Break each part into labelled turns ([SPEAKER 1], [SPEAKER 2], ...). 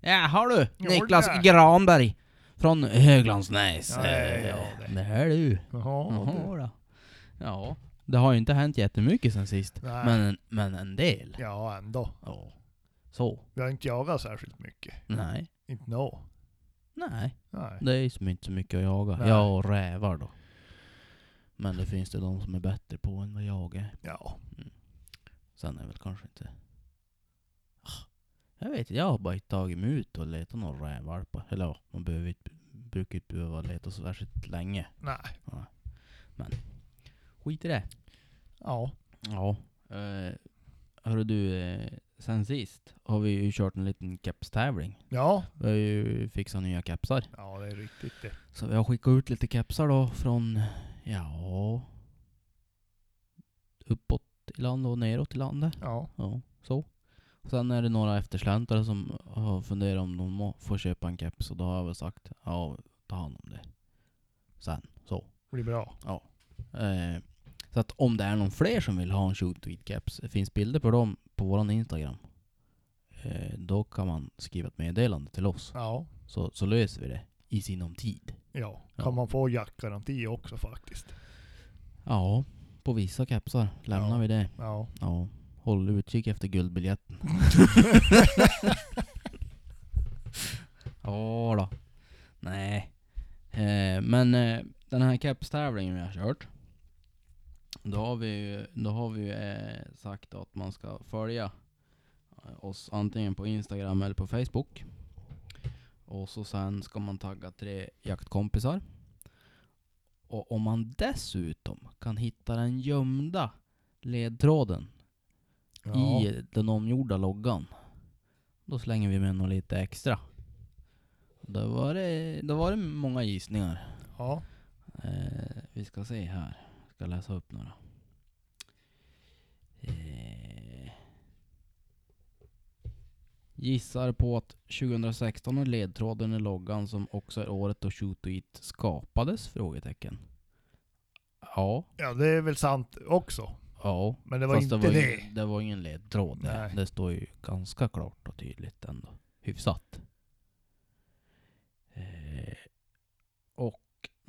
[SPEAKER 1] Jaha du,
[SPEAKER 2] Jo,
[SPEAKER 1] Niklas
[SPEAKER 2] det.
[SPEAKER 1] Granberg från Höglandsnäs.
[SPEAKER 2] Ja,
[SPEAKER 1] Eh,
[SPEAKER 2] ja,
[SPEAKER 1] det. här du.
[SPEAKER 2] Jaha,
[SPEAKER 1] Jaha, då. Ja, det har ju inte hänt jättemycket sen sist.
[SPEAKER 2] Nej.
[SPEAKER 1] Men, men en del.
[SPEAKER 2] du. Ja, ändå.
[SPEAKER 1] Ja. Så.
[SPEAKER 2] Vi har inte jagat särskilt mycket.
[SPEAKER 1] Nej.
[SPEAKER 2] Inte nå.
[SPEAKER 1] Nej,
[SPEAKER 2] Nej.
[SPEAKER 1] det är som inte så mycket att jaga.
[SPEAKER 2] Nej.
[SPEAKER 1] Jag och rävar då. Men det finns det de som är bättre på än vad jag är.
[SPEAKER 2] Ja.
[SPEAKER 1] Sen är väl kanske inte... Ah, Jag vet inte, jag har bara inte tagit mig ut och letat några rävvalpar. Eller ja, man behöver inte, brukar inte behöva leta så särskilt länge.
[SPEAKER 2] Nej.
[SPEAKER 1] Skit i det.
[SPEAKER 2] Ja.
[SPEAKER 1] Ja. Eh, hörru du, eh, sen sist har vi ju kört en liten kepstävling.
[SPEAKER 2] Ja.
[SPEAKER 1] Vi har ju fixat nya kepsar.
[SPEAKER 2] Ja, det är riktigt det.
[SPEAKER 1] Så vi har skickat ut lite kepsar då från, ja... Uppåt i land och neråt i landet.
[SPEAKER 2] Ja.
[SPEAKER 1] Ja, så. Sen är det några eftersläntare som har funderat om de må- får köpa en keps och då har jag väl sagt ja, ta hand om det. Sen, så.
[SPEAKER 2] Blir bra.
[SPEAKER 1] Ja. Eh, så att om det är någon fler som vill ha en shootweed keps, det finns bilder på dem på våran Instagram. Eh, då kan man skriva ett meddelande till oss.
[SPEAKER 2] Ja.
[SPEAKER 1] Så, så löser vi det i sinom tid.
[SPEAKER 2] Ja.
[SPEAKER 1] Ja.
[SPEAKER 2] Kan man få jaktgaranti också faktiskt.
[SPEAKER 1] Ja, på vissa kepsar lämnar
[SPEAKER 2] Ja.
[SPEAKER 1] vi det.
[SPEAKER 2] Ja.
[SPEAKER 1] Ja. Håll utkik efter guldbiljetten. Ja då. Nej. Eh, men eh, den här kepstävlingen vi har kört. Då har vi ju då har vi, ju, eh, sagt att man ska följa eh, oss antingen på Instagram eller på Facebook. Och så sen ska man tagga tre jaktkompisar. Och om man dessutom kan hitta den gömda ledtråden
[SPEAKER 2] Ja.
[SPEAKER 1] i den omgjorda loggan. Då slänger vi med något lite extra. Då var det, då var det många gissningar.
[SPEAKER 2] Ja.
[SPEAKER 1] Eh, vi ska se här. Jag ska läsa upp några. Eh, gissar på att 2016 är ledtråden i loggan som också är året då Shoot och Eat skapades? Frågetecken. Ja.
[SPEAKER 2] Ja, det är väl sant också.
[SPEAKER 1] Ja.
[SPEAKER 2] Men det var
[SPEAKER 1] Fast
[SPEAKER 2] inte
[SPEAKER 1] det var, ju-
[SPEAKER 2] det.
[SPEAKER 1] det var ingen ledtråd. Det,
[SPEAKER 2] Nej.
[SPEAKER 1] det står ju ganska klart och tydligt ändå. Hyfsat. Eh, och,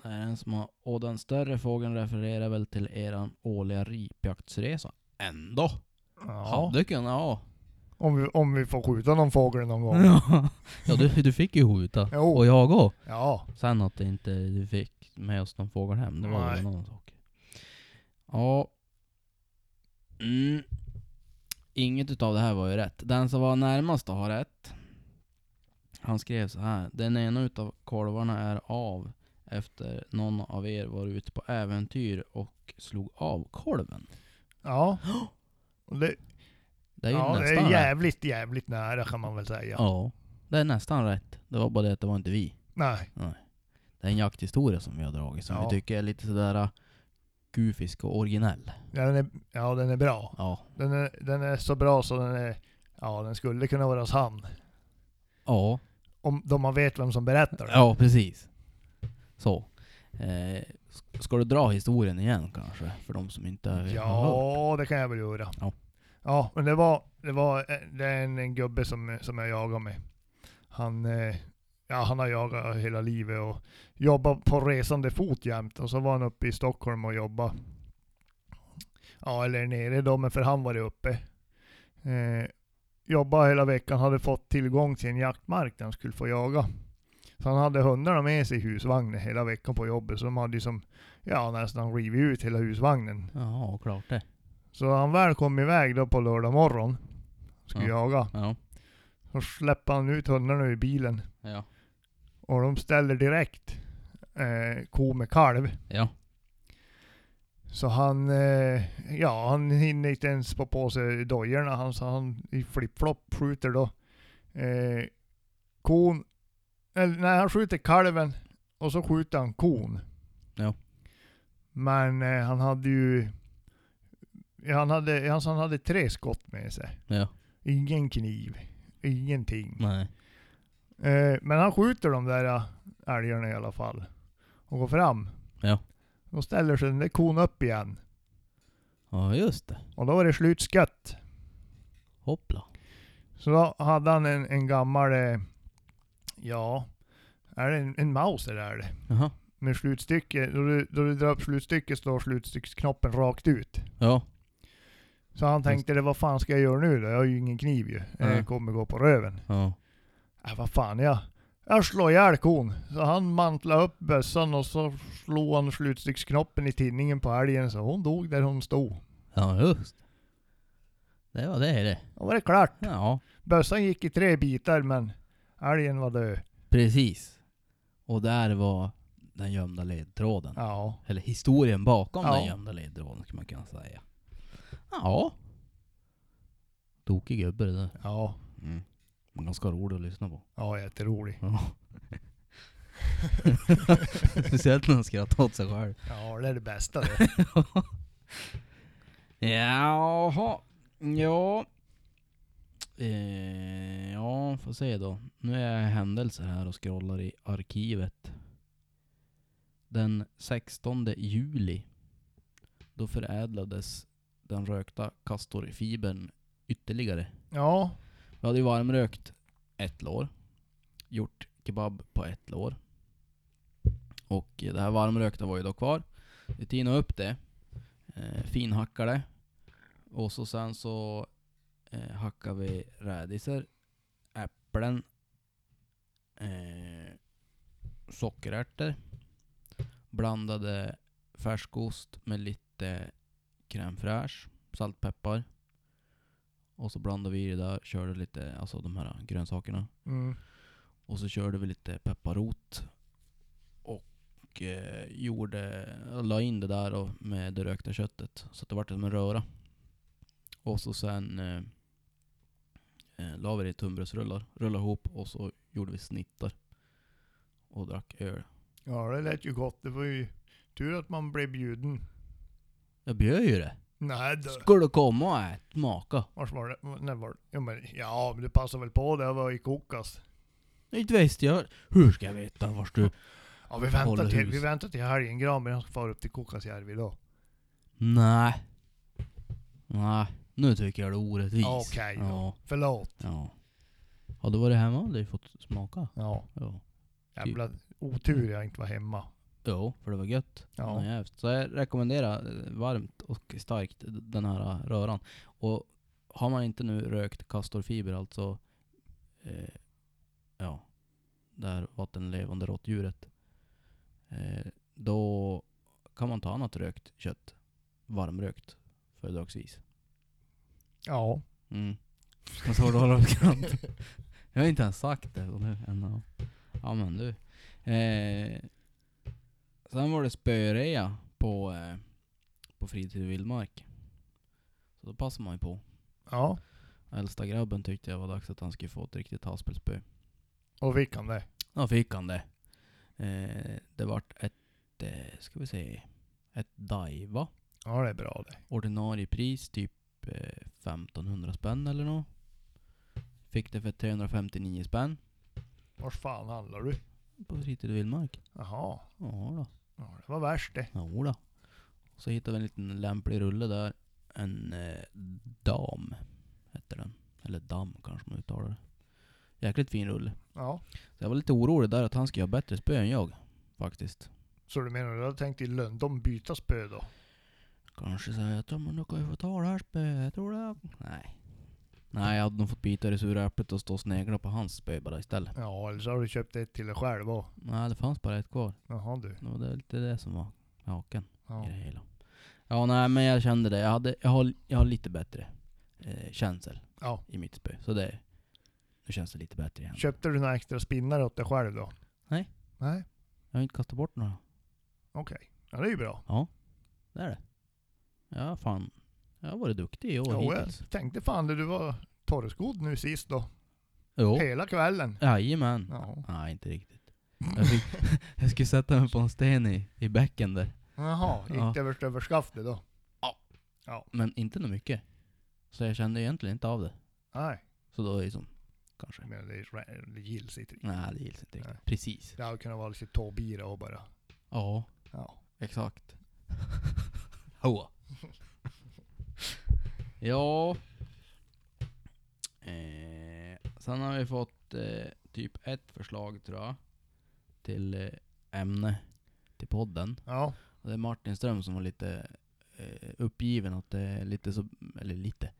[SPEAKER 1] det är en som har, och den större fågeln refererar väl till eran årliga ripjaktsresa. Ändå!
[SPEAKER 2] Ja.
[SPEAKER 1] Hade kunnat, ja.
[SPEAKER 2] Om vi, om vi får skjuta någon fågel någon gång.
[SPEAKER 1] ja du, du fick ju skjuta.
[SPEAKER 2] Jo.
[SPEAKER 1] Och jag också.
[SPEAKER 2] Ja.
[SPEAKER 1] Sen att det inte vi fick med oss någon fågel hem, det var väl
[SPEAKER 2] Nej.
[SPEAKER 1] en annan sak. Ja. Mm. Inget utav det här var ju rätt. Den som var närmast att ha rätt. Han skrev så här. Den ena utav korvarna är av efter någon av er var ute på äventyr och slog av kolven.
[SPEAKER 2] Ja. Och Det,
[SPEAKER 1] Det är ju
[SPEAKER 2] ja, det
[SPEAKER 1] nästan
[SPEAKER 2] är
[SPEAKER 1] rätt.
[SPEAKER 2] jävligt, jävligt nära kan man väl säga.
[SPEAKER 1] Ja. Det är nästan rätt. Det var bara det att det var inte vi.
[SPEAKER 2] Nej.
[SPEAKER 1] Det är en jakthistoria som vi har dragit som
[SPEAKER 2] Ja.
[SPEAKER 1] vi tycker är lite sådär uh, gufisk och originell.
[SPEAKER 2] Ja, den är, ja, den är bra.
[SPEAKER 1] Ja.
[SPEAKER 2] Den är, den är så bra så den är... Ja, den skulle kunna vara sann.
[SPEAKER 1] Ja,
[SPEAKER 2] Om då man vet vem som berättar den.
[SPEAKER 1] ja precis. Så. Eh, s- ska du dra historien igen kanske? För de som inte har hört?
[SPEAKER 2] Ja, det kan jag väl göra.
[SPEAKER 1] Ja.
[SPEAKER 2] Ja, men det var, det var eh, det är en, en gubbe som, som jag jagar med. Han, eh, ja, han har jagat hela livet och jobbat på resande fot jämt. Och så var han uppe i Stockholm och jobbade. Ja, eller nere då, men för han var det uppe. Eh, jobbade hela veckan, hade fått tillgång till en jaktmark där han skulle få jaga. Så han hade hundarna med sig i husvagnen hela veckan på jobbet. Så de hade ju som, ja nästan rivit ut hela husvagnen.
[SPEAKER 1] Jaha, klart det.
[SPEAKER 2] Så han väl kom iväg då på lördag morgon, skulle jaga,
[SPEAKER 1] Ja.
[SPEAKER 2] så släppte han ut hundarna ur bilen.
[SPEAKER 1] Ja.
[SPEAKER 2] Och de ställer direkt eh, ko med kalv.
[SPEAKER 1] Ja.
[SPEAKER 2] Så han, eh, ja han hinner inte ens få på sig dojorna. Han, så han i flip-flop skjuter då eh, kon. Eller nej, han skjuter kalven och så skjuter han kon.
[SPEAKER 1] Ja.
[SPEAKER 2] Men eh, han hade ju, ja, han hade, alltså han hade tre skott med sig.
[SPEAKER 1] Ja.
[SPEAKER 2] Ingen kniv. Ingenting.
[SPEAKER 1] Nej.
[SPEAKER 2] Eh, men han skjuter de där eh, älgarna i alla fall. Och går fram.
[SPEAKER 1] Ja.
[SPEAKER 2] Då ställer sig den där kon upp igen.
[SPEAKER 1] Ja, just det.
[SPEAKER 2] Och då var det slutskött.
[SPEAKER 1] Hoppla.
[SPEAKER 2] Så då hade han en, en gammal eh, Ja, är det en, en mouse eller är det?
[SPEAKER 1] Jaha.
[SPEAKER 2] Med slutstycke, då du, då du drar upp slutstycket slår slutstycksknoppen rakt ut.
[SPEAKER 1] Ja.
[SPEAKER 2] Så han tänkte det, vad fan ska jag göra nu då? Jag har ju ingen kniv ju.
[SPEAKER 1] Nej.
[SPEAKER 2] Jag kommer gå på röven.
[SPEAKER 1] Ja.
[SPEAKER 2] Äh, vad fan jag... Jag slår ihjäl kon. Så han mantlade upp bössan och så slog han slutstycksknoppen i tinningen på älgen så hon dog där hon stod.
[SPEAKER 1] Ja, just. Det var det det.
[SPEAKER 2] Då var det klart.
[SPEAKER 1] Ja,
[SPEAKER 2] Bössan gick i tre bitar men älgen var död.
[SPEAKER 1] precis. Och där var den gömda ledtråden.
[SPEAKER 2] Ja.
[SPEAKER 1] Eller historien bakom
[SPEAKER 2] Ja.
[SPEAKER 1] den gömda ledtråden skulle man kunna säga. Ja. Tokig gubbe det där.
[SPEAKER 2] Ja.
[SPEAKER 1] Mm. Ganska rolig att lyssna på.
[SPEAKER 2] Ja, jätterolig.
[SPEAKER 1] Ja. Speciellt när han skrattar åt sig själv.
[SPEAKER 2] Ja, det är det bästa det.
[SPEAKER 1] Jaha. Ja. Eh, ja, får se då. Nu är jag i händelser här och scrollar i arkivet. Den 16 juli. Då förädlades den rökta kastorfibern ytterligare.
[SPEAKER 2] Ja.
[SPEAKER 1] Vi hade ju varmrökt ett lår. Gjort kebab på ett lår. Och eh, det här varmrökta var ju då kvar. Vi tinade upp det. Eh, finhackade. Och så sen så eh, hackade vi rädisor, äpplen, eh, sockerärtor. Blandade färskost med lite crème fraîche, saltpeppar. Och så blandade vi i det där, körde lite, alltså de här grönsakerna.
[SPEAKER 2] Mm.
[SPEAKER 1] Och så körde vi lite pepparrot. Och eh, gjorde, la in det där och med det rökta köttet. Så att det vart som en röra. Och så sen eh, eh, la vi det i tunnbrödsrullar, rullade ihop och så gjorde vi snittar. Och drack öl.
[SPEAKER 2] Ja, det lät ju gott. Det var ju tur att man blev bjuden.
[SPEAKER 1] Jag bjöd ju det.
[SPEAKER 2] Nej då.
[SPEAKER 1] Skulle du komma och äta, maka?
[SPEAKER 2] Vars var det? När var det? Ja, men, ja, men du passar väl på det. Jag var i kokas.
[SPEAKER 1] Inte visste jag. Hur ska jag veta vart du...
[SPEAKER 2] Ja, vi väntar
[SPEAKER 1] Håller
[SPEAKER 2] till,
[SPEAKER 1] hus.
[SPEAKER 2] vi väntar till helgen. Granberg han ska fara upp till Kokasjärvi idag.
[SPEAKER 1] Nej. Nej. Nu tycker jag det är orättvist.
[SPEAKER 2] Ja, okej då.
[SPEAKER 1] ja.
[SPEAKER 2] Förlåt.
[SPEAKER 1] Ja. Har du varit hemma och aldrig fått smaka?
[SPEAKER 2] Ja,
[SPEAKER 1] Ja.
[SPEAKER 2] jävla otur jag inte var hemma.
[SPEAKER 1] Jo, för det var gött.
[SPEAKER 2] Ja.
[SPEAKER 1] Den är jävligt. Så jag rekommenderar eh, varmt och starkt den här eh, röran. Och har man inte nu rökt kastorfiber, alltså eh, ja, det här vattenlevande råttdjuret, eh, då kan man ta annat rökt kött. Varmrökt, föredragsvis.
[SPEAKER 2] Ja.
[SPEAKER 1] Mm. Man står och håller åt kant. Jag har inte ens sagt det. och nu ändå. Ja men du. Eh, sen var det spörea på, eh, på fritid och vildmark. Så då passade man ju på.
[SPEAKER 2] Ja.
[SPEAKER 1] Äldsta grabben tyckte jag var dags att han skulle få ett riktigt haspelspö.
[SPEAKER 2] Och fick han det?
[SPEAKER 1] Då fick han det. Eh, det vart ett, eh, ska vi se, ett Daiva.
[SPEAKER 2] Ja, det är bra det.
[SPEAKER 1] ordinarie pris typ eh, 1500 spänn eller nå. Fick det för 359 spänn
[SPEAKER 2] Vars fan handlar du?
[SPEAKER 1] på fritid och vildmark.
[SPEAKER 2] Jaha.
[SPEAKER 1] Ja då.
[SPEAKER 2] Ja, det var värst det.
[SPEAKER 1] Jo då. Så hittade vi en liten lämplig rulle där. En eh, dam hette den. Eller dam kanske man uttalar det. Jäkligt fin rulle.
[SPEAKER 2] Ja.
[SPEAKER 1] Så jag var lite orolig där att han skulle ha bättre spö än jag. Faktiskt.
[SPEAKER 2] Så du menar du hade tänkt i Lundom byta spö då?
[SPEAKER 1] Kanske säger jag men du kan ju få ta det här spöet, jag tror det. Nej. Nej, jag hade nog fått bita i det sura äpplet och stå och snegla på hans spö bara istället.
[SPEAKER 2] Ja, eller så har du köpt ett till dig själv och.
[SPEAKER 1] Nej, det fanns bara ett kvar.
[SPEAKER 2] Jaha du.
[SPEAKER 1] Det var det- lite det som var haken
[SPEAKER 2] Ja.
[SPEAKER 1] i det hela. Ja, nej men jag kände det. Jag, hade, jag, har, jag har lite bättre eh, känsel
[SPEAKER 2] ja.
[SPEAKER 1] i mitt spö. Så det... Nu känns det lite bättre igen.
[SPEAKER 2] Köpte du några extra spinnare åt dig själv då?
[SPEAKER 1] Nej.
[SPEAKER 2] Nej,
[SPEAKER 1] Jag har inte kastat bort några.
[SPEAKER 2] okej. Ja, det är ju bra.
[SPEAKER 1] Det är det. Ja, fan. Jag har varit duktig i år
[SPEAKER 2] Jo, jag
[SPEAKER 1] hittills.
[SPEAKER 2] tänkte fan det, du var torrskodd nu sist då.
[SPEAKER 1] Jo.
[SPEAKER 2] Hela kvällen.
[SPEAKER 1] Jajamän.
[SPEAKER 2] Ja.
[SPEAKER 1] Nej, inte riktigt. Jag, fick, jag skulle sätta mig på en sten i, i bäcken där.
[SPEAKER 2] Jaha, gick
[SPEAKER 1] Ja.
[SPEAKER 2] det över, över skaftet då?
[SPEAKER 1] Men inte nog mycket. Så jag kände egentligen inte av det.
[SPEAKER 2] Nej,
[SPEAKER 1] Så då är det som... Kanske.
[SPEAKER 2] men det, är ra- det gills inte riktigt.
[SPEAKER 1] Nej, det gills inte riktigt.
[SPEAKER 2] Nej.
[SPEAKER 1] Precis.
[SPEAKER 2] Det hade kunnat vara lite tåbira och bara...
[SPEAKER 1] Ja.
[SPEAKER 2] Ja.
[SPEAKER 1] Exakt. Hoa. ja. Eh, sen har vi fått eh, typ ett förslag tror jag, till eh, ämne till podden.
[SPEAKER 2] Ja,
[SPEAKER 1] Och det är Martin Ström som var lite eh, uppgiven att det är lite så, eller lite,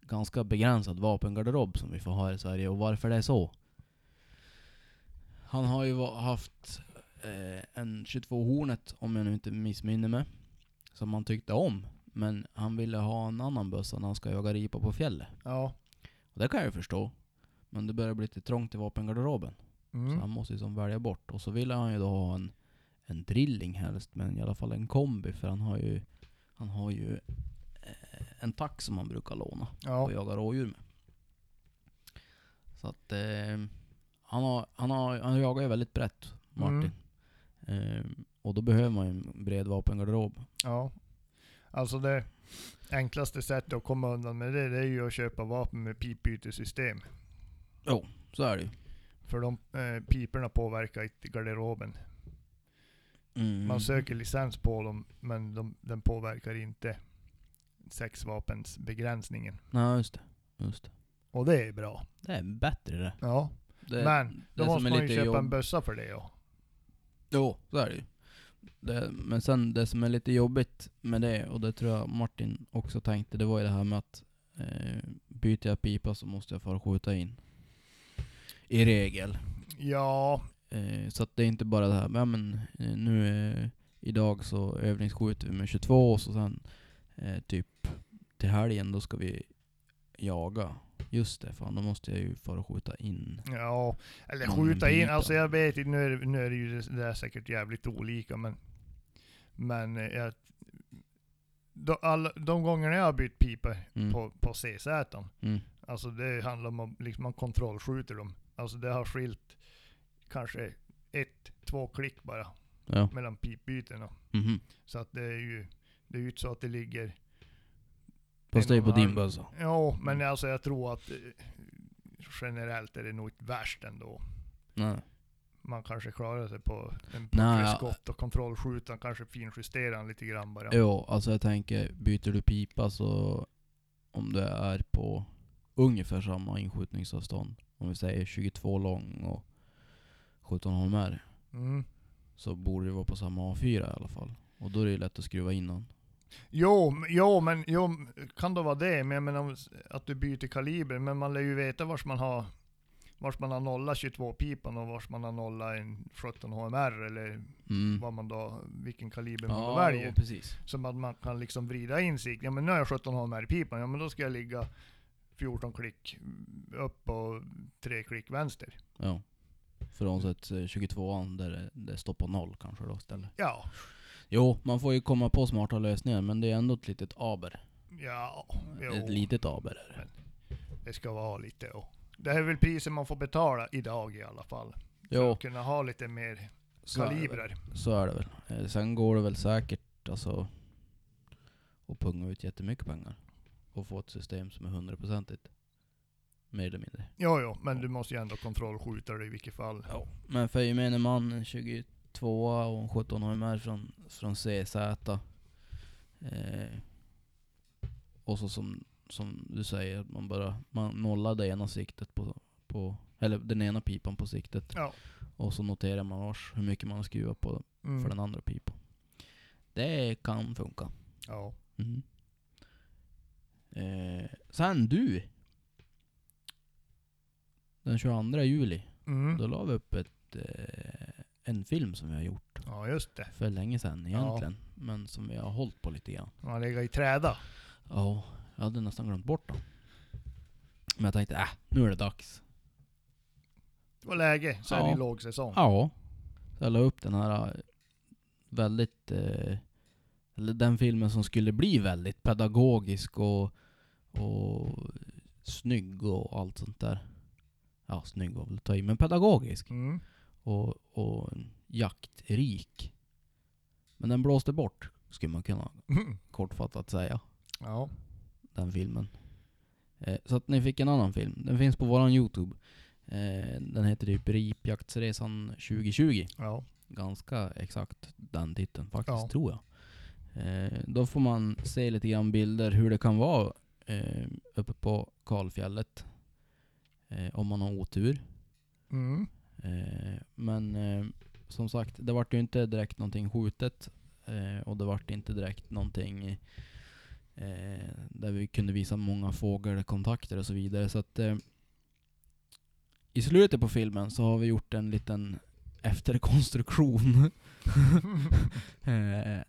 [SPEAKER 1] ganska begränsad vapengarderob som vi får ha i Sverige och varför det är så. Han har ju va- haft eh, en 22 Hornet, om jag nu inte missminner mig, som han tyckte om. Men han ville ha en annan bössa när han ska jaga ripa på fjället.
[SPEAKER 2] ja.
[SPEAKER 1] Och det kan jag ju förstå. Men det börjar bli lite trångt i vapengarderoben. Så
[SPEAKER 2] Mm.
[SPEAKER 1] han måste ju som välja bort. Och så ville han ju då ha en, en drilling helst, men i alla fall en kombi. För han har ju, han har ju eh, en tax som han brukar låna
[SPEAKER 2] Ja,
[SPEAKER 1] och jaga rådjur med. Så att eh, han, har, han, har, han jagar ju väldigt brett, Martin.
[SPEAKER 2] Mm.
[SPEAKER 1] Eh, och då behöver man ju en bred vapengarderob.
[SPEAKER 2] ja. Alltså det enklaste sättet att komma undan med det, det är ju att köpa vapen med pipbytessystem.
[SPEAKER 1] Så är det ju.
[SPEAKER 2] För de eh, piporna påverkar inte garderoben.
[SPEAKER 1] Mm.
[SPEAKER 2] Man söker licens på dem, men de, den påverkar inte sexvapensbegränsningen.
[SPEAKER 1] Nej, just det. Just det.
[SPEAKER 2] Och det är bra.
[SPEAKER 1] det är bättre det.
[SPEAKER 2] Ja,
[SPEAKER 1] det
[SPEAKER 2] men
[SPEAKER 1] det
[SPEAKER 2] då
[SPEAKER 1] är som
[SPEAKER 2] måste
[SPEAKER 1] är
[SPEAKER 2] man ju
[SPEAKER 1] lite
[SPEAKER 2] köpa
[SPEAKER 1] jobb-
[SPEAKER 2] en bössa för det ja.
[SPEAKER 1] Jo, så är det ju. Det, men sen det som är lite jobbigt med det, och det tror jag Martin också tänkte, det var ju det här med att eh, byter jag pipa så måste jag få skjuta in. I regel.
[SPEAKER 2] Ja,
[SPEAKER 1] Eh, så att det är inte bara det här, ja, men eh, nu eh, idag så övningsskjuter vi med 22 och så sen eh, typ till helgen då ska vi jaga. Just det, fan då måste jag ju få skjuta in.
[SPEAKER 2] ja. Eller
[SPEAKER 1] Ja,
[SPEAKER 2] skjuta
[SPEAKER 1] men
[SPEAKER 2] in,
[SPEAKER 1] pipa.
[SPEAKER 2] alltså jag vet inte, nu är, det- nu är det ju det där säkert jävligt olika men... Men eh, jag... De, alla, de gångerna jag har bytt pipor
[SPEAKER 1] Mm.
[SPEAKER 2] på, på CZ,
[SPEAKER 1] Mm.
[SPEAKER 2] alltså det handlar om att liksom man kontrollskjuter dem. Alltså det har skilt kanske ett, två klick bara
[SPEAKER 1] Ja.
[SPEAKER 2] mellan pipbytena.
[SPEAKER 1] Mhm.
[SPEAKER 2] Så att det är ju, det är ju inte så att det ligger...
[SPEAKER 1] Fast det är på
[SPEAKER 2] någon
[SPEAKER 1] din
[SPEAKER 2] annan-
[SPEAKER 1] bössa.
[SPEAKER 2] Ja, men
[SPEAKER 1] Mm.
[SPEAKER 2] alltså jag tror att eh, generellt är det nog inte värst ändå.
[SPEAKER 1] Nej.
[SPEAKER 2] Man kanske klarar sig på en
[SPEAKER 1] Nej,
[SPEAKER 2] Nej,
[SPEAKER 1] ja.
[SPEAKER 2] skott och kontrollskjutan, kanske finjustera den lite grann bara.
[SPEAKER 1] Jo, alltså jag tänker, byter du pipa så om det är på ungefär samma inskjutningsavstånd, om vi säger 22 lång och 17 holmer,
[SPEAKER 2] Mm.
[SPEAKER 1] så borde det vara på samma A4 i alla fall. Och då är det ju lätt att skruva in den.
[SPEAKER 2] Jo, m- jo, men jo, kan det vara det? Men jag menar om s- att du byter kaliber, men man lär ju veta vars man har vars man har nolla 22-pipan och vars man har nolla en 17 HMR eller
[SPEAKER 1] Mm.
[SPEAKER 2] vad man då, vilken kaliber man då
[SPEAKER 1] Ja,
[SPEAKER 2] väljer.
[SPEAKER 1] jo, precis.
[SPEAKER 2] Som att man kan liksom vrida in sikten. Ja men nu har jag 17 hammar i pipan. Ja men då ska jag ligga 14 klick upp och 3 klick vänster.
[SPEAKER 1] Ja. Frånsett eh, 22an där det- det står på noll kanske då istället.
[SPEAKER 2] Ja,
[SPEAKER 1] Jo, man får ju komma på smarta lösningar, men det är ändå ett litet aber.
[SPEAKER 2] ja, jo,
[SPEAKER 1] Ett litet aber är det.
[SPEAKER 2] det ska vara lite. Och. Det här är väl priset man får betala idag i alla fall. För
[SPEAKER 1] Jo,
[SPEAKER 2] att kunna ha lite mer
[SPEAKER 1] så är det väl.
[SPEAKER 2] kalibrer.
[SPEAKER 1] Så är det väl. Eh, Sen går det väl säkert alltså att punga ut jättemycket pengar och få ett system som är hundraprocentigt. Mer eller mindre.
[SPEAKER 2] Jo, jo, men du måste ju ändå kontrollskjuta det i vilket fall.
[SPEAKER 1] Ja. Men för gemene man, en 22 och en 17 HMR från, från CZ. Eh, och så som, som du säger, att man bara man nollar det ena siktet på, på, eller den ena pipan på siktet.
[SPEAKER 2] Ja.
[SPEAKER 1] Och så noterar man vars, hur mycket man har skruvat på för
[SPEAKER 2] Mm.
[SPEAKER 1] den andra pipan. Det kan funka.
[SPEAKER 2] Ja.
[SPEAKER 1] Mm. Eh, sen du. Den 22 juli, då
[SPEAKER 2] Mm.
[SPEAKER 1] la vi upp ett, eh, en film som vi har gjort
[SPEAKER 2] ja, just det.
[SPEAKER 1] för länge sedan
[SPEAKER 2] Ja.
[SPEAKER 1] egentligen. Men som vi har hållit på lite grann.
[SPEAKER 2] Man ligger i träda.
[SPEAKER 1] Ja, jag hade nästan glömt bort den. Men jag tänkte, äh, nu är det dags.
[SPEAKER 2] Det var läge, så är det
[SPEAKER 1] Ja.
[SPEAKER 2] ju lågsäsong.
[SPEAKER 1] Ja. Så jag la upp den här eh, väldigt, eh, eller den filmen som skulle bli väldigt pedagogisk och, och snygg och allt sånt där. Ja, snygg var väl att ta i, men pedagogisk
[SPEAKER 2] Mm.
[SPEAKER 1] och, och jaktrik. Men den blåste bort, skulle man kunna kortfattat säga,
[SPEAKER 2] Ja.
[SPEAKER 1] den filmen. Eh, så att ni fick en annan film. Den finns på våran Youtube. Eh, den heter typ Ripjaktsresan 2020
[SPEAKER 2] Ja.
[SPEAKER 1] ganska exakt den titeln faktiskt,
[SPEAKER 2] Ja.
[SPEAKER 1] tror jag. Eh, då får man se lite grann bilder hur det kan vara eh, uppe på kalfjället. Eh, om man har otur.
[SPEAKER 2] Mm.
[SPEAKER 1] Eh, men eh, som sagt, det vart ju inte direkt någonting skjutet. Eh, och det vart inte direkt någonting eh, där vi kunde visa många fågelkontakter och så vidare. Så att eh, i slutet på filmen så har vi gjort en liten efterkonstruktion eh,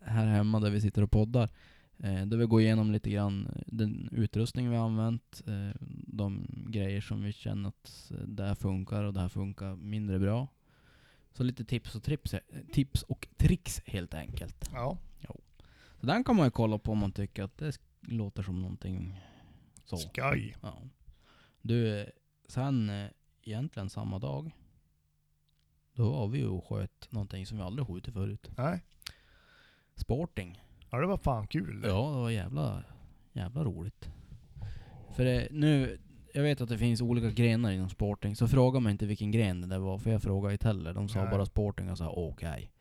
[SPEAKER 1] här hemma där vi sitter och poddar. Eh, där vi går igenom lite grann den utrustning vi har använt, eh, de grejer som vi känner att eh, det här funkar och det här funkar mindre bra. Så lite tips och, trips, eh, tips och tricks helt enkelt.
[SPEAKER 2] Ja.
[SPEAKER 1] Så den kan man ju kolla på om man tycker att det sk- låter som någonting så.
[SPEAKER 2] Skoj.
[SPEAKER 1] Ja. Du, eh, sen eh, egentligen samma dag, då var vi ju och sköt någonting som vi aldrig skjutit förut.
[SPEAKER 2] Nej.
[SPEAKER 1] Sporting.
[SPEAKER 2] Ja, det var fan kul. det.
[SPEAKER 1] Ja, det var jävla, jävla roligt. För det, nu, jag vet att det finns olika grenar inom sporting, så fråga mig inte vilken gren det där var, för jag frågade inte heller. De sa
[SPEAKER 2] Nej.
[SPEAKER 1] bara sporting och sa okej.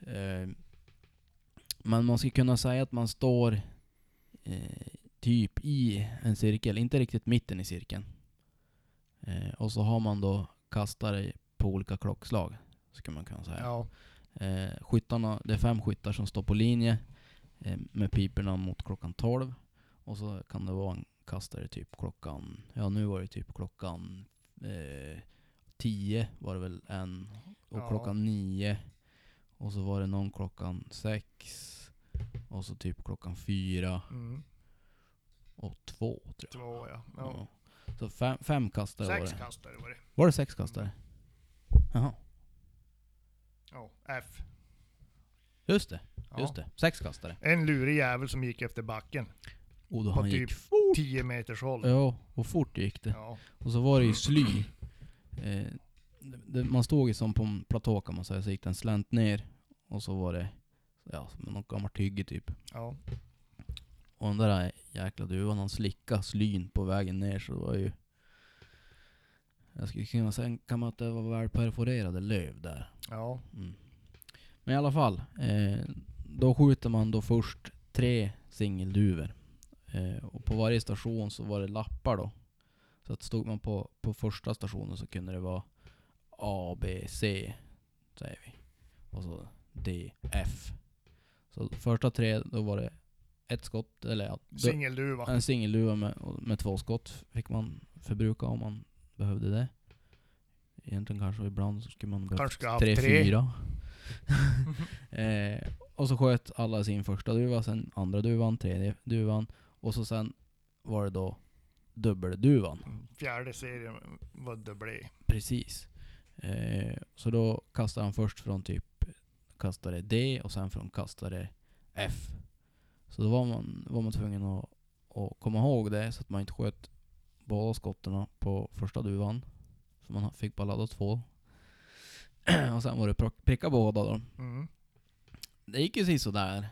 [SPEAKER 1] Eh, men man skulle kunna säga att man står eh, typ i en cirkel, inte riktigt mitten i cirkeln. Eh, och så har man då kastare på olika klockslag, skulle man kunna säga.
[SPEAKER 2] Ja.
[SPEAKER 1] Eh, skyttarna, det är fem skyttar som står på linje eh, med piporna mot klockan 12. Och så kan det vara en kastare typ klockan, ja nu var det typ klockan eh, 10 var det väl en. Och
[SPEAKER 2] Ja.
[SPEAKER 1] klockan 9. Och så var det någon klockan 6. Och så typ klockan 4
[SPEAKER 2] Mm.
[SPEAKER 1] och 2 tror jag.
[SPEAKER 2] Två ja. ja.
[SPEAKER 1] Ja. Så fem, fem kastare var
[SPEAKER 2] Sex Mm.
[SPEAKER 1] det.
[SPEAKER 2] kastare var det.
[SPEAKER 1] Var det sex kastare? Jaha,
[SPEAKER 2] Ja. F.
[SPEAKER 1] just det.
[SPEAKER 2] Ja.
[SPEAKER 1] Just det. Sex kastare.
[SPEAKER 2] En lurig jävel som gick efter backen.
[SPEAKER 1] Och då
[SPEAKER 2] På
[SPEAKER 1] han
[SPEAKER 2] typ
[SPEAKER 1] gick fort.
[SPEAKER 2] 10 meters håll.
[SPEAKER 1] Ja, och fort gick det.
[SPEAKER 2] Ja.
[SPEAKER 1] Och så var det ju sly. Eh, det, det, man stod ju som på en platå kan man säga, så gick den slänt ner. Och så var det, ja, som något gammalt hygge typ.
[SPEAKER 2] Ja.
[SPEAKER 1] Och den där jäkla duvan, han slickade slyn på vägen ner så det var ju... Jag skulle kunna säga kan man att det var välperforerade löv där.
[SPEAKER 2] Ja.
[SPEAKER 1] Mm. Men i alla fall, eh, då skjuter man då först tre singelduvor. Eh, och på varje station så var det lappar då. Så att stod man på, på första stationen så kunde det vara A, B, C, säger vi. Och så D, F. Så första tre, då var det ett skott, eller ja, då-
[SPEAKER 2] Singelduva.
[SPEAKER 1] en singelduva med, och med två skott fick man förbruka om man behövde det. Egentligen kanske ibland så skulle man behövt
[SPEAKER 2] Kanske ska ha
[SPEAKER 1] tre,
[SPEAKER 2] haft tre.
[SPEAKER 1] fyra. eh, och så sköt alla sin första duva, sen andra duvan, tredje duvan. Och så sen var det då dubbelduvan.
[SPEAKER 2] Fjärde serien var det blev.
[SPEAKER 1] Precis. Eh, så då kastade han först från typ kastare D och sen från kastare F. Så då var man, var man tvungen att, att komma ihåg det så att man inte sköt båda skotten på första duvan. För man fick bara ladda två. och sen var det prock- pricka båda då.
[SPEAKER 2] Mm.
[SPEAKER 1] Det gick ju sådär.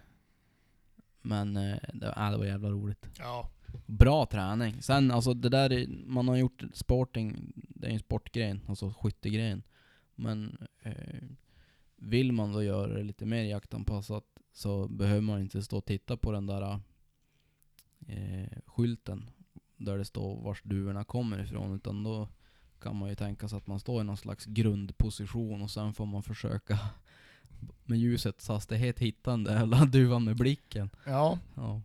[SPEAKER 1] Men eh, det, äh, det var jävla roligt.
[SPEAKER 2] Ja.
[SPEAKER 1] Bra träning. Sen alltså det där, är- man har gjort sporting, det är en sportgren, alltså skyttegren. Men eh, vill man då göra det lite mer jaktanpassat så behöver man inte stå och titta på den där eh, skylten där det står vars duvorna kommer ifrån. Utan då kan man ju tänka sig att man står i någon slags grundposition och sen får man försöka med ljusets hastighet hitta den där jävla duvan med blicken.
[SPEAKER 2] Ja.
[SPEAKER 1] Ja.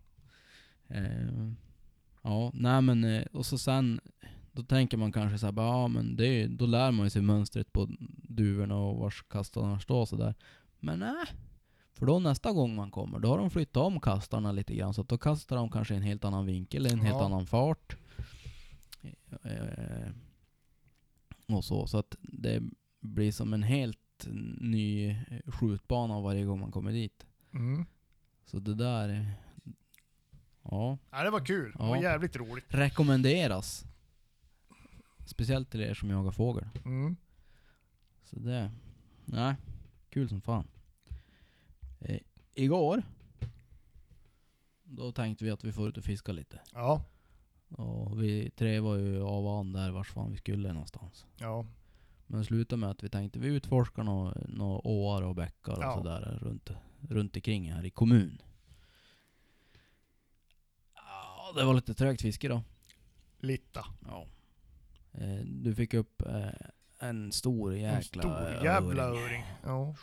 [SPEAKER 1] Eh, ja, nej men eh, och så sen då tänker man kanske så här, bara, ja men det är, ju- då lär man ju sig mönstret på duvorna och vars kastarna står och så där. Men nej. För då nästa gång man kommer, då har de flyttat om kastarna lite grann så att då kastar de kanske i en helt annan vinkel, en helt
[SPEAKER 2] Ja.
[SPEAKER 1] annan fart. Eh, och så, så att det blir som en helt ny eh, skjutbana varje gång man kommer dit.
[SPEAKER 2] Mm.
[SPEAKER 1] Så det där... eh, Ja.
[SPEAKER 2] Ja, det var kul. Det var
[SPEAKER 1] Ja.
[SPEAKER 2] jävligt roligt.
[SPEAKER 1] Rekommenderas. Speciellt till er som jagar fågel.
[SPEAKER 2] Mm.
[SPEAKER 1] Så det... Nej. Kul som fan. Eh, igår... Då tänkte vi att vi får ut och fiska lite.
[SPEAKER 2] Ja.
[SPEAKER 1] Och vi tre var ju av och an där vars fan vi skulle någonstans.
[SPEAKER 2] Ja.
[SPEAKER 1] Men det slutade med att vi tänkte vi utforskar några nå åar och bäckar och
[SPEAKER 2] Ja.
[SPEAKER 1] sådär runt, runt omkring här i kommun. Ja, det var lite trögt fiske då.
[SPEAKER 2] Litta.
[SPEAKER 1] Ja. Eh, Du fick upp eh, en stor jäkla
[SPEAKER 2] en stor
[SPEAKER 1] öring.
[SPEAKER 2] jävla öring. Ja.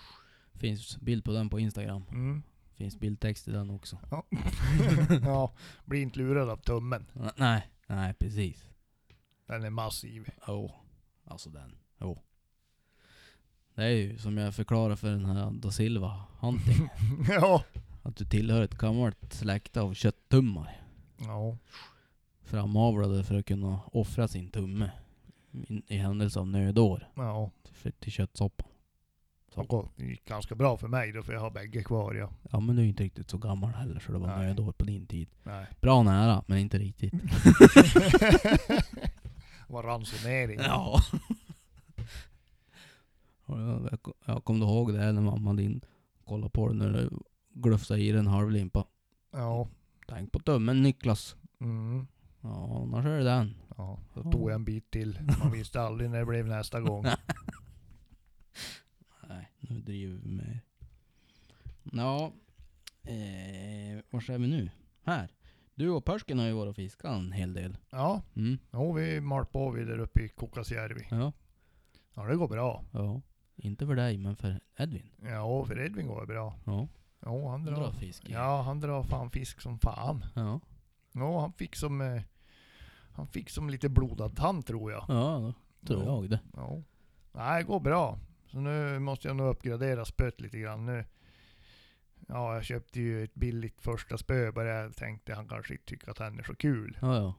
[SPEAKER 1] Finns bild på den på Instagram.
[SPEAKER 2] Mm.
[SPEAKER 1] Finns bildtext i den också.
[SPEAKER 2] Ja. ja, bli inte lurad av tummen.
[SPEAKER 1] N- nej, nej precis.
[SPEAKER 2] Den är massiv.
[SPEAKER 1] Jo. Alltså den. Jo. Det är ju som jag förklarade för den här da Silva Hunting.
[SPEAKER 2] ja.
[SPEAKER 1] att du tillhör ett gammalt släkte av kötttummar.
[SPEAKER 2] ja.
[SPEAKER 1] Framavlade för att kunna offra sin tumme. I, i händelse av nödår.
[SPEAKER 2] Ja.
[SPEAKER 1] Till, till köttsoppan.
[SPEAKER 2] Det har gått ganska bra för mig då, för jag har bägge kvar. Ja.
[SPEAKER 1] Ja men du är inte riktigt så gammal heller så det var
[SPEAKER 2] Nej.
[SPEAKER 1] nödår på din tid.
[SPEAKER 2] Nej.
[SPEAKER 1] Bra nära, men inte riktigt.
[SPEAKER 2] Var ransonering.
[SPEAKER 1] Ja. Och jag- jag kom- Jag kommer ihåg det här när mamma din kollade på det när du glufsade i dig en halv limpa.
[SPEAKER 2] Ja.
[SPEAKER 1] Tänk på tummen Niklas.
[SPEAKER 2] Mm.
[SPEAKER 1] Ja, annars är det den.
[SPEAKER 2] ja. Då tog
[SPEAKER 1] Mm.
[SPEAKER 2] jag en bit till. Man visste aldrig när det blev nästa gång.
[SPEAKER 1] Nej, nu driver vi med Ja, eh, var är vi nu? Här. Du och Persken har ju varit och fiskat en hel del.
[SPEAKER 2] Ja,
[SPEAKER 1] Mm,
[SPEAKER 2] jo, vi mal på vi där uppe i Kokasjärvi.
[SPEAKER 1] ja,
[SPEAKER 2] Ja, det går bra.
[SPEAKER 1] ja. Inte för dig, men för Edvin.
[SPEAKER 2] Ja, för Edvin går det bra.
[SPEAKER 1] Ja,
[SPEAKER 2] Jo, han
[SPEAKER 1] dra
[SPEAKER 2] drar.
[SPEAKER 1] fisk.
[SPEAKER 2] Ja, han drar fan fisk som fan.
[SPEAKER 1] Ja,
[SPEAKER 2] Ja, han fick som... Eh, han fick som lite blodad tand tror jag.
[SPEAKER 1] ja då tror
[SPEAKER 2] Ja.
[SPEAKER 1] jag det.
[SPEAKER 2] Ja. Nej, det går bra. Så nu måste jag nog uppgradera spöet lite grann nu. Ja, jag köpte ju ett billigt första spö bara jag tänkte han kanske inte tycker att han är så kul.
[SPEAKER 1] Ja, ja.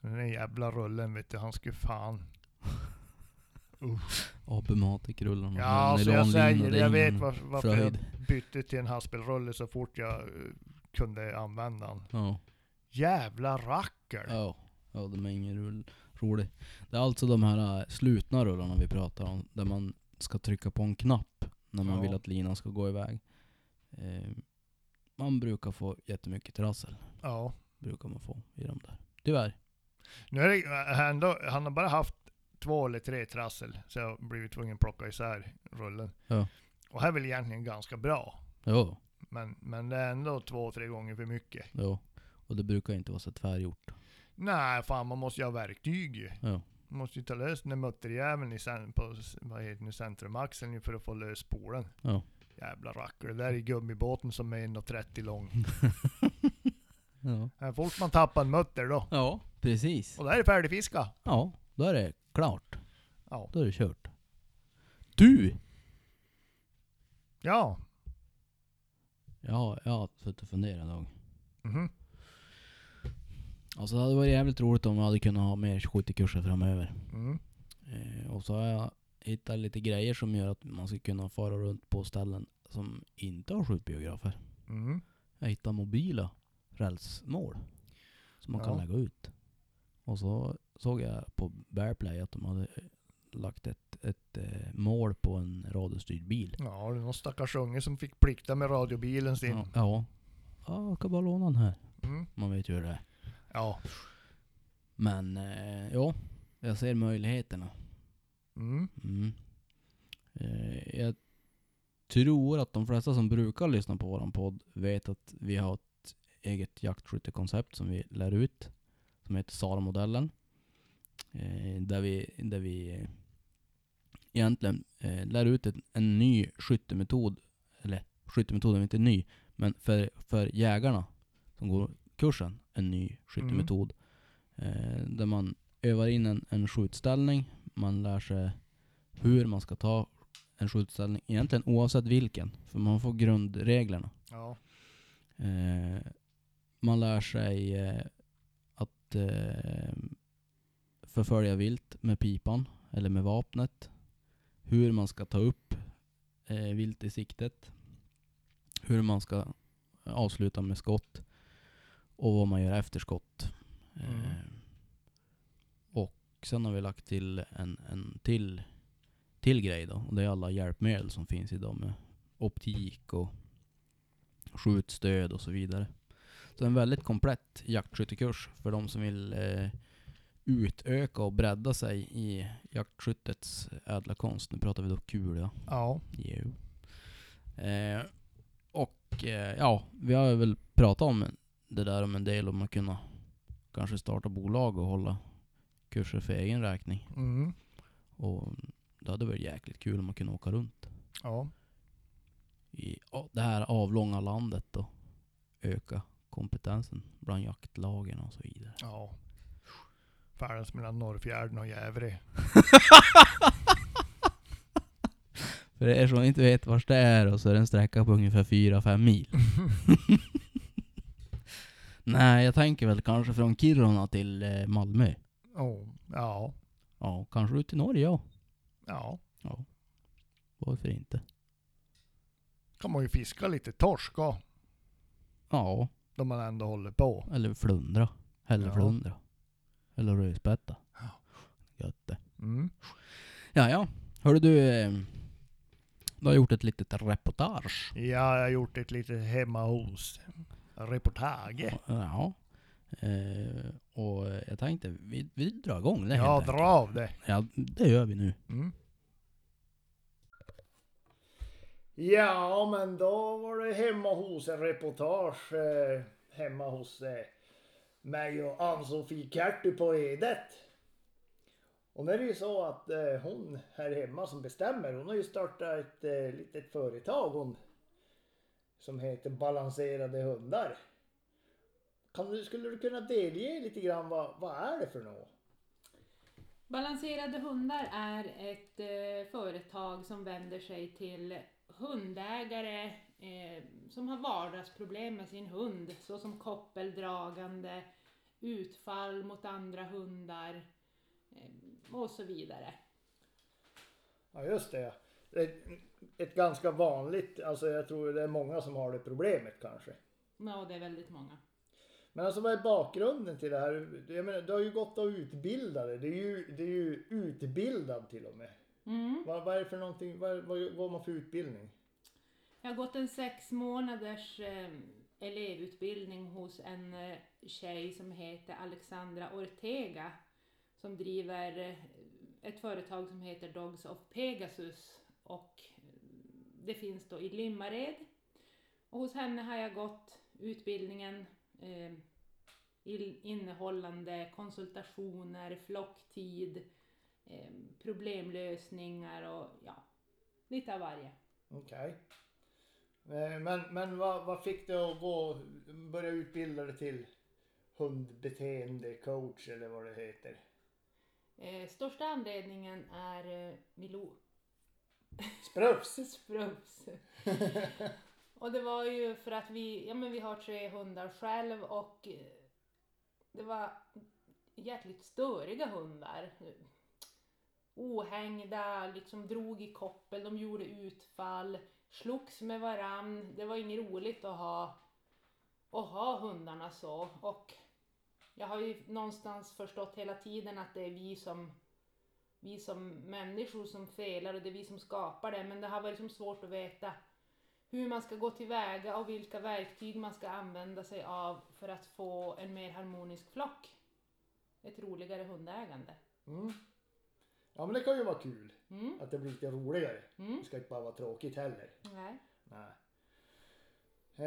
[SPEAKER 2] Den där jävla rullen vet du, han skulle fan...
[SPEAKER 1] Apematik-rullarna.
[SPEAKER 2] Ja, alltså jag säger det. Jag vet
[SPEAKER 1] mm.
[SPEAKER 2] var, varför jag bytte till en haspelrulle så fort jag eh, kunde använda den.
[SPEAKER 1] Ja.
[SPEAKER 2] Jävla rackel!
[SPEAKER 1] Ja. ja, de är ingen rull, rolig. Det är alltså de här äh, slutna rullarna vi pratar om, där man ska trycka på en knapp när man
[SPEAKER 2] Ja.
[SPEAKER 1] vill att linan ska gå iväg. Eh, man brukar få jättemycket trassel,
[SPEAKER 2] Ja.
[SPEAKER 1] brukar man få i de där. Tyvärr.
[SPEAKER 2] Nu är det, ändå, han har bara haft två eller tre trassel, så jag har blivit tvungen att plocka isär rullen.
[SPEAKER 1] Ja.
[SPEAKER 2] Och här är väl egentligen ganska bra,
[SPEAKER 1] Jo,
[SPEAKER 2] men, men det är ändå två, tre gånger för mycket.
[SPEAKER 1] jo. Och det brukar inte vara så tvärgjort.
[SPEAKER 2] Nej, fan man måste ju ha verktyg ju.
[SPEAKER 1] Ja.
[SPEAKER 2] Man måste ju ta lös den där mutterjäveln i cen- på s- vad heter det nu, centrumaxeln ju för att få lös spolen.
[SPEAKER 1] Ja.
[SPEAKER 2] Jävla rackare, det där är gummibåten som är 1,30 lång.
[SPEAKER 1] Ja.
[SPEAKER 2] Här fort man tappar en mutter då.
[SPEAKER 1] ja, precis.
[SPEAKER 2] Och där är det färdigfiska.
[SPEAKER 1] Ja, då är det klart.
[SPEAKER 2] Ja.
[SPEAKER 1] Då är det kört. Du!
[SPEAKER 2] Ja.
[SPEAKER 1] Ja, jag har suttit och funderat idag.
[SPEAKER 2] Mhm.
[SPEAKER 1] Alltså det hade varit jävligt roligt om jag hade kunnat ha mer skyttekurser framöver.
[SPEAKER 2] Mm.
[SPEAKER 1] Eh, och så har jag hittat lite grejer som gör att man ska kunna fara runt på ställen som inte har skjutbiografer.
[SPEAKER 2] Mm.
[SPEAKER 1] Jag hittade mobila rälsmål som man kan
[SPEAKER 2] Ja.
[SPEAKER 1] lägga ut. Och så såg jag på Bearplay att de hade eh, lagt ett, ett eh, mål på en radiostyrd bil.
[SPEAKER 2] Ja, det är någon stackars unge som fick plikta med radiobilen sin.
[SPEAKER 1] Ja. ja. Ja, jag kan bara låna den här.
[SPEAKER 2] Mm.
[SPEAKER 1] Man vet ju hur det är.
[SPEAKER 2] Ja.
[SPEAKER 1] Men eh, ja, jag ser möjligheterna.
[SPEAKER 2] Mm.
[SPEAKER 1] Mm. Eh, jag tror att de flesta som brukar lyssna på våran podd vet att vi har ett eget jaktskyttekoncept som vi lär ut. Som heter SAR-modellen. Eh, där vi, där vi eh, egentligen eh, lär ut en, en ny skyttemetod. Eller skyttemetoden är inte ny, men för, för jägarna som går kursen, en ny skyttemetod. Eh, där man övar in en, en skjutställning. Man lär sig hur man ska ta en skjutställning, egentligen oavsett vilken, för man får grundreglerna.
[SPEAKER 2] Ja.
[SPEAKER 1] Eh, man lär sig eh, att eh, förfölja vilt med pipan eller med vapnet. Hur man ska ta upp eh, vilt i siktet. Hur man ska avsluta med skott. Och vad man gör efter skott.
[SPEAKER 2] Mm.
[SPEAKER 1] Eh, och sen har vi lagt till en, en till, till grej då. Och det är alla hjälpmedel som finns idag med optik och skjutstöd och så vidare. Så en väldigt komplett jaktskyttekurs för de som vill eh, utöka och bredda sig i jaktskyttets ädla konst. Nu pratar vi då kula.
[SPEAKER 2] Ja.
[SPEAKER 1] Jo. Eh, och eh, ja, vi har ju väl pratat om det där om en del om att kunna
[SPEAKER 2] Mhm.
[SPEAKER 1] kanske starta bolag och hålla kurser för egen räkning.
[SPEAKER 2] Mm.
[SPEAKER 1] Och Det hade varit jäkligt kul om man kunde åka runt
[SPEAKER 2] Ja.
[SPEAKER 1] i a- det här avlånga landet och öka kompetensen bland jaktlagen och så vidare.
[SPEAKER 2] ja. Färdas mellan Norrfjärden och Gävle.
[SPEAKER 1] För er som inte vet vart det är och så är det en sträcka på ungefär 4-5 mil. Nej, jag tänker väl kanske från Kiruna till eh, Malmö.
[SPEAKER 2] Oh, ja.
[SPEAKER 1] Ja, kanske ut till Norge ja.
[SPEAKER 2] Ja.
[SPEAKER 1] Varför inte?
[SPEAKER 2] Kan man ju fiska lite torsk då,
[SPEAKER 1] Ja,
[SPEAKER 2] då man ändå håller på.
[SPEAKER 1] eller flundra. Eller
[SPEAKER 2] Ja.
[SPEAKER 1] flundra. Eller rödspätta.
[SPEAKER 2] Ja.
[SPEAKER 1] Gött det.
[SPEAKER 2] Mm.
[SPEAKER 1] Ja, ja. Hörru du, eh, du har gjort ett litet reportage.
[SPEAKER 2] Ja, jag har gjort ett litet hemma hos reportage.
[SPEAKER 1] Ja. Eh, och jag tänkte, vi, vi drar igång det
[SPEAKER 2] Ja,
[SPEAKER 1] helt
[SPEAKER 2] dra
[SPEAKER 1] enkelt.
[SPEAKER 2] av det.
[SPEAKER 1] Ja, det gör vi nu.
[SPEAKER 2] Mm. Ja, men då var det hemma hos en reportage eh, hemma hos eh, mig och Ann-Sofie Kertu på Edet. Och nu är det ju så att eh, hon här hemma som bestämmer, hon har ju startat ett eh, litet företag hon som heter Balanserade hundar. Kan du, skulle du kunna delge lite grann vad, vad är det för något?
[SPEAKER 3] Balanserade hundar är ett eh, företag som vänder sig till hundägare eh, som har vardagsproblem med sin hund såsom koppeldragande, utfall mot andra hundar eh, och så vidare.
[SPEAKER 4] Ja just det. Ett, ett ganska vanligt, alltså jag tror det är många som har det problemet kanske.
[SPEAKER 3] Ja, det är väldigt många.
[SPEAKER 4] Men alltså vad är bakgrunden till det här? Jag menar, du har ju gått och utbildat dig. Du är ju, du är ju utbildad till och med.
[SPEAKER 3] Mm.
[SPEAKER 4] Vad, vad är det för någonting, vad, vad, vad har man för utbildning?
[SPEAKER 3] Jag har gått en sex månaders eh, elevutbildning hos en eh, tjej som heter Alexandra Ortega som driver eh, ett företag som heter Dogs of Pegasus och eh, det finns då i Limmared. Och hos henne har jag gått utbildningen eh, ill- innehållande konsultationer, flocktid, eh, problemlösningar och ja, lite av varje.
[SPEAKER 4] Okej. Eh, Men, men vad, vad fick du att gå, börja utbilda dig till hundbeteendecoach eller vad det heter?
[SPEAKER 3] Eh, största anledningen är eh, Milou
[SPEAKER 4] Sprufs!
[SPEAKER 3] Sprufs. och det var ju för att vi, ja men vi har tre hundar själv och eh, det var jäkligt störiga hundar. Ohängda, liksom drog i koppel, de gjorde utfall, slogs med varann. Det var inget roligt att ha, att ha hundarna så. Och jag har ju någonstans förstått hela tiden att det är vi som vi som människor som felar och det är vi som skapar det. Men det har varit som svårt att veta hur man ska gå tillväga och vilka verktyg man ska använda sig av för att få en mer harmonisk flock. Ett roligare hundägande.
[SPEAKER 4] Mm. Ja men det kan ju vara kul.
[SPEAKER 3] Mm.
[SPEAKER 4] Att det blir lite roligare.
[SPEAKER 3] Mm.
[SPEAKER 4] Det ska inte bara vara tråkigt heller.
[SPEAKER 3] Nej.
[SPEAKER 4] Nej.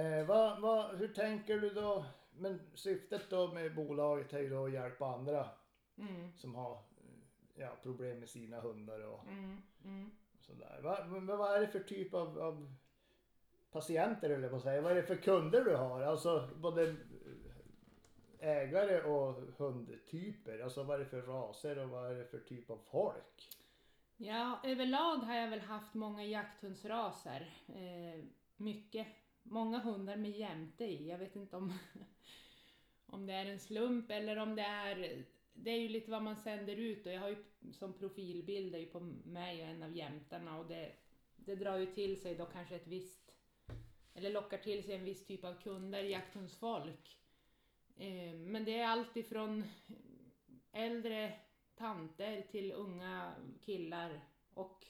[SPEAKER 4] Eh, vad, vad, hur tänker du då? Men syftet då med bolaget är ju då att hjälpa andra
[SPEAKER 3] Mm.
[SPEAKER 4] som har eh, ja, problem med sina hundar och
[SPEAKER 3] Mm. Mm.
[SPEAKER 4] sådär. Va, men vad är det för typ av, av patienter eller vad säger jag? Vad är det för kunder du har? Alltså både ägare och hundtyper. Alltså vad är det för raser och vad är det för typ av folk?
[SPEAKER 3] Ja, överlag har jag väl haft många jakthundsraser. Eh, mycket. Många hundar med jämte i. Jag vet inte om, om det är en slump eller om det är... Det är ju lite vad man sänder ut och jag har ju som profilbild är ju på mig och en av jämtarna och det, det drar ju till sig då kanske ett visst... Eller lockar till sig en viss typ av kunder, jakthundsfolk. Eh, men det är allt ifrån äldre tanter till unga killar och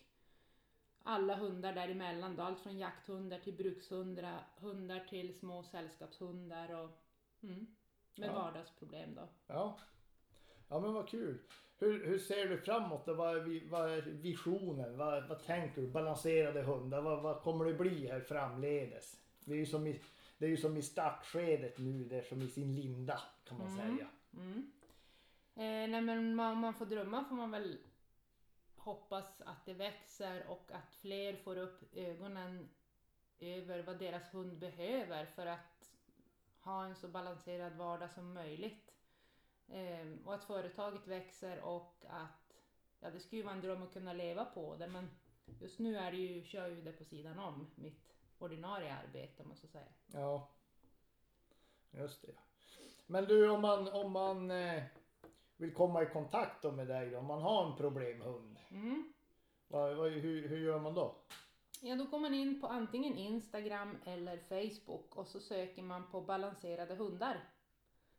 [SPEAKER 3] alla hundar däremellan då, allt från jakthundar till brukshundar hundar till små sällskapshundar och mm, med
[SPEAKER 4] Ja.
[SPEAKER 3] vardagsproblem då.
[SPEAKER 4] Ja. Ja men vad kul. Hur, hur ser du framåt då? Vad är, vi, vad är visionen? Vad, vad tänker du? Balanserade hundar? Vad, vad kommer det bli här framledes? Det är ju som i, det är ju som i startskedet nu. Det är som i sin linda kan man
[SPEAKER 3] Mm.
[SPEAKER 4] säga.
[SPEAKER 3] Mm. Eh, nej men man- om man får drömma får man väl hoppas att det växer och att fler får upp ögonen över vad deras hund behöver för att ha en så balanserad vardag som möjligt. Ehm, och att företaget växer och att, ja det skulle ju vara en dröm att kunna leva på det men just nu är det ju, kör jag ju det på sidan om mitt ordinarie arbete om man så säger.
[SPEAKER 4] Ja. Just det. Men du om man, om man eh, vill komma i kontakt då med dig då, om man har en problemhund.
[SPEAKER 3] Mm.
[SPEAKER 4] Vad, vad, hur, hur gör man då?
[SPEAKER 3] Ja, då går man in på antingen Instagram eller Facebook och så söker man på balanserade hundar.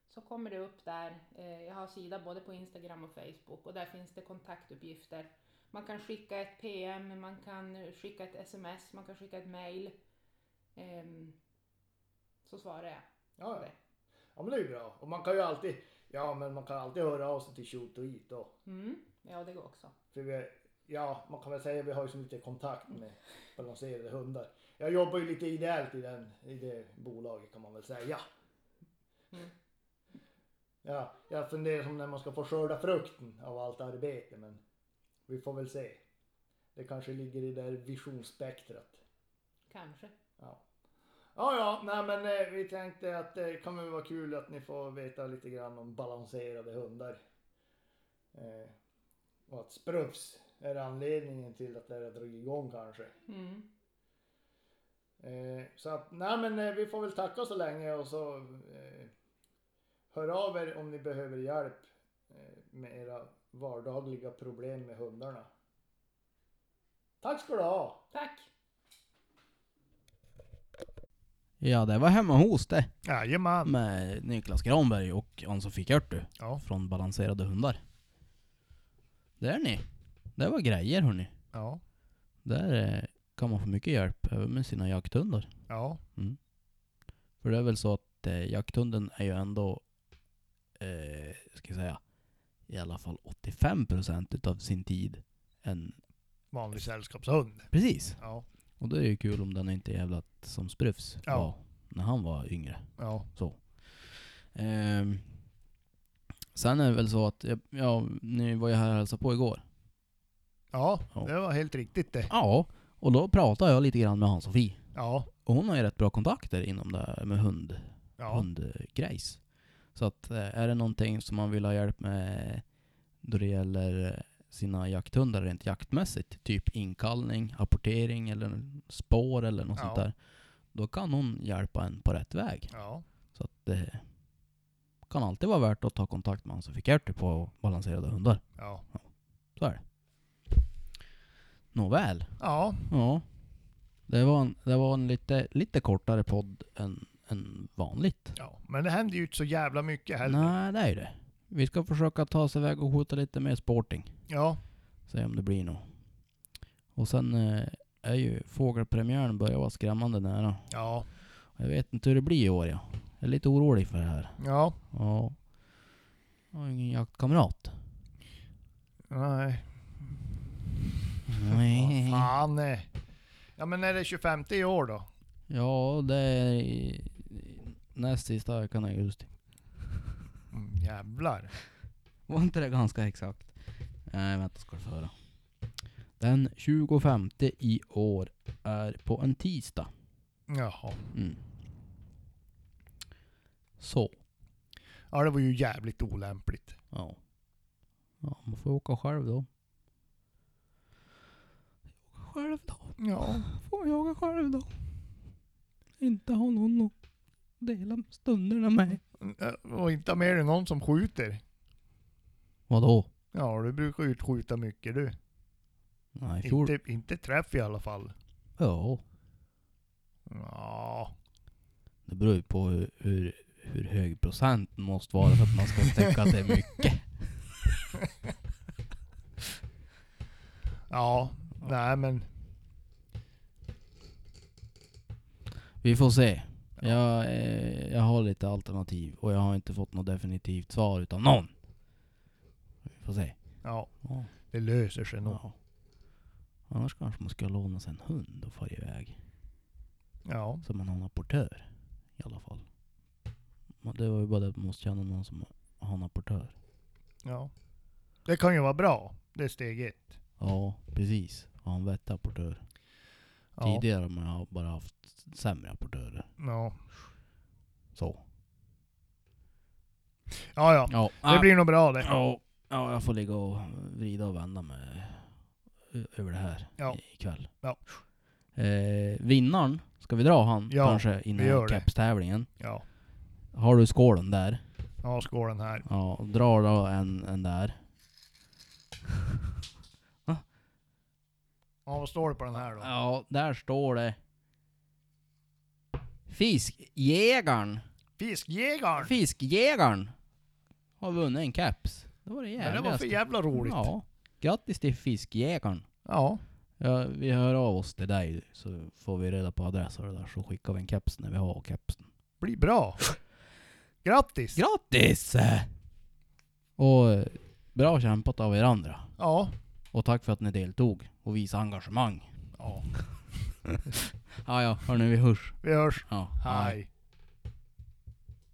[SPEAKER 3] Så kommer det upp där. Eh, Jag har sida både på Instagram och Facebook och där finns det kontaktuppgifter. Man kan skicka ett PM, man kan skicka ett sms, man kan skicka ett mail. Ehm, Så svarar jag.
[SPEAKER 4] Ja, ja. ja men det är ju bra. Och man kan ju alltid, ja men man kan alltid höra av sig till Shoot och Eat då.
[SPEAKER 3] Mm. Ja, det går också.
[SPEAKER 4] För vi, är- ja, man kan väl säga att vi har ju så lite kontakt med balanserade hundar. Jag jobbar ju lite ideellt i, den, i det bolaget kan man väl säga.
[SPEAKER 3] Mm.
[SPEAKER 4] Ja, jag funderar som när man ska få skörda frukten av allt arbete men vi får väl se. Det kanske ligger i det där visionsspektrat.
[SPEAKER 3] Kanske.
[SPEAKER 4] Ja. Ja, ja, nej men eh, vi tänkte att det kan väl vara kul att ni får veta lite grann om balanserade hundar. Eh, och att sprufs är anledningen till att det här drog igång kanske.
[SPEAKER 3] Mm.
[SPEAKER 4] Eh, så att, nej men eh, vi får väl tacka så länge och så eh, hör av er om ni behöver hjälp eh, med era vardagliga problem med hundarna. Tack ska du ha!
[SPEAKER 3] Tack!
[SPEAKER 1] Ja, det var hemma hos det.
[SPEAKER 2] Jajamän.
[SPEAKER 1] Med Niklas Granberg och Ann-Sofie Kertu
[SPEAKER 2] Ja,
[SPEAKER 1] från Balanserade Hundar. Där ni. Det var grejer hörni.
[SPEAKER 2] ja,
[SPEAKER 1] Där eh, kan man få mycket hjälp även med sina jakthundar.
[SPEAKER 2] ja,
[SPEAKER 1] För det är väl så att eh, jakthunden är ju ändå, eh, ska jag säga, i alla fall 85% utav sin tid en...
[SPEAKER 2] vanlig sällskapshund.
[SPEAKER 1] Precis!
[SPEAKER 2] Ja,
[SPEAKER 1] Och då är det ju kul om den inte är jävlat som Sprufs
[SPEAKER 2] Ja.
[SPEAKER 1] var när han var yngre.
[SPEAKER 2] ja,
[SPEAKER 1] Ehm, sen är det väl så att, ja, ja ni var ju här och hälsade på igår.
[SPEAKER 2] ja,
[SPEAKER 1] Ja.
[SPEAKER 2] det var helt riktigt det.
[SPEAKER 1] Ja, och då pratade jag lite grann med Hans-Sofie.
[SPEAKER 2] Ja,
[SPEAKER 1] Och hon har ju rätt bra kontakter inom det här med hund,
[SPEAKER 2] ja,
[SPEAKER 1] hundgrejs. Så att eh, är det någonting som man vill ha hjälp med då det gäller eh, sina jakthundar rent jaktmässigt, typ inkallning, apportering eller spår eller något
[SPEAKER 2] Ja.
[SPEAKER 1] sånt där. Då kan hon hjälpa en på rätt väg.
[SPEAKER 2] ja,
[SPEAKER 1] Så att det kan alltid vara värt att ta kontakt med han som fick hjälp på balanserade hundar.
[SPEAKER 2] ja.
[SPEAKER 1] Så är det. Nåväl.
[SPEAKER 2] Ja,
[SPEAKER 1] Ja. Det var en, det var en lite, lite kortare podd än, än vanligt.
[SPEAKER 2] ja. Men det händer ju inte så jävla mycket heller.
[SPEAKER 1] Nej, det är ju det. Vi ska försöka ta oss iväg och skjuta lite mer sporting.
[SPEAKER 2] Ja,
[SPEAKER 1] Se om det blir något. Och sen eh, är ju fågelpremiären börjar vara skrämmande nära.
[SPEAKER 2] ja,
[SPEAKER 1] Jag vet inte hur det blir i år ja. Jag är lite orolig för det här.
[SPEAKER 2] ja.
[SPEAKER 1] Ja. Jag har ingen jaktkamrat.
[SPEAKER 2] Nej.
[SPEAKER 1] Nej.
[SPEAKER 2] Vad fan. eh. Ja men är det 25 i år då?
[SPEAKER 1] Ja, det är i, i, näst sista veckan i augusti.
[SPEAKER 2] Mm, jävlar.
[SPEAKER 1] Var inte det ganska exakt? Nej, vänta ska du få höra. Den 25 i år är på en tisdag.
[SPEAKER 2] Jaha.
[SPEAKER 1] Mm. Så.
[SPEAKER 2] Ja det var ju jävligt olämpligt.
[SPEAKER 1] Ja. ja. Man får åka själv då. Åka Själv då.
[SPEAKER 2] Ja.
[SPEAKER 1] Får jag åka själv då. Inte ha någon att dela stunderna med.
[SPEAKER 2] Och inte mer än någon som skjuter.
[SPEAKER 1] Vadå?
[SPEAKER 2] Ja du brukar ju skjuta mycket du.
[SPEAKER 1] Nej, i fjol.
[SPEAKER 2] Inte, inte träff i alla fall.
[SPEAKER 1] Ja.
[SPEAKER 2] Ja.
[SPEAKER 1] Det beror ju på hur, hur, hur hög procenten måste vara för att man ska tänka att det är mycket.
[SPEAKER 2] Ja. Nej men.
[SPEAKER 1] Vi får se. Jag, eh, jag har lite alternativ och jag har inte fått något definitivt svar utav någon. Vi får se.
[SPEAKER 2] Ja.
[SPEAKER 1] Ja.
[SPEAKER 2] Det löser sig nog.
[SPEAKER 1] Ja. Annars kanske man ska låna sig en hund och fara iväg.
[SPEAKER 2] Ja.
[SPEAKER 1] Så man har en apportör i alla fall. Men Det var ju bara det att man måste känna någon som har en apportör.
[SPEAKER 2] Ja. Det kan ju vara bra. Det är steg ett.
[SPEAKER 1] Ja, precis. Ha en vettig apportör.
[SPEAKER 2] Ja.
[SPEAKER 1] Tidigare har man ju bara haft sämre apportörer.
[SPEAKER 2] Ja.
[SPEAKER 1] Så.
[SPEAKER 2] Ja, ja.
[SPEAKER 1] Ja,
[SPEAKER 2] Det
[SPEAKER 1] ah,
[SPEAKER 2] blir nog bra det.
[SPEAKER 1] ja, ja, jag får ligga och vrida och vända mig ö- över det här
[SPEAKER 2] Ja.
[SPEAKER 1] i- ikväll.
[SPEAKER 2] Ja.
[SPEAKER 1] Eh, vinnaren, ska vi dra han
[SPEAKER 2] Ja,
[SPEAKER 1] kanske
[SPEAKER 2] vi gör
[SPEAKER 1] innan
[SPEAKER 2] det.
[SPEAKER 1] kepstävlingen?
[SPEAKER 2] Ja.
[SPEAKER 1] Har du skålen där?
[SPEAKER 2] Ja, skålen här.
[SPEAKER 1] Ja, och dra då en, en där.
[SPEAKER 2] Ja, vad står det på den här då?
[SPEAKER 1] Ja, där står det. Fiskjägaren.
[SPEAKER 2] Fiskjägaren!
[SPEAKER 1] Fiskjägaren har vunnit en keps. Det var det
[SPEAKER 2] Ja, det
[SPEAKER 1] jävligaste.
[SPEAKER 2] var för jävla roligt.
[SPEAKER 1] Ja. Grattis till Fiskjägaren.
[SPEAKER 2] Ja.
[SPEAKER 1] Ja, vi hör av oss till dig så får vi reda på adress och det där så skickar vi en keps när vi har kepsen.
[SPEAKER 2] Blir bra. Grattis!
[SPEAKER 1] Grattis! Och eh, bra kämpat av er andra.
[SPEAKER 2] Ja.
[SPEAKER 1] Och tack för att ni deltog och visade engagemang.
[SPEAKER 2] ja.
[SPEAKER 1] Ja, ja, hörni, vi hörs.
[SPEAKER 2] Vi hörs.
[SPEAKER 1] Ja,
[SPEAKER 2] Hej.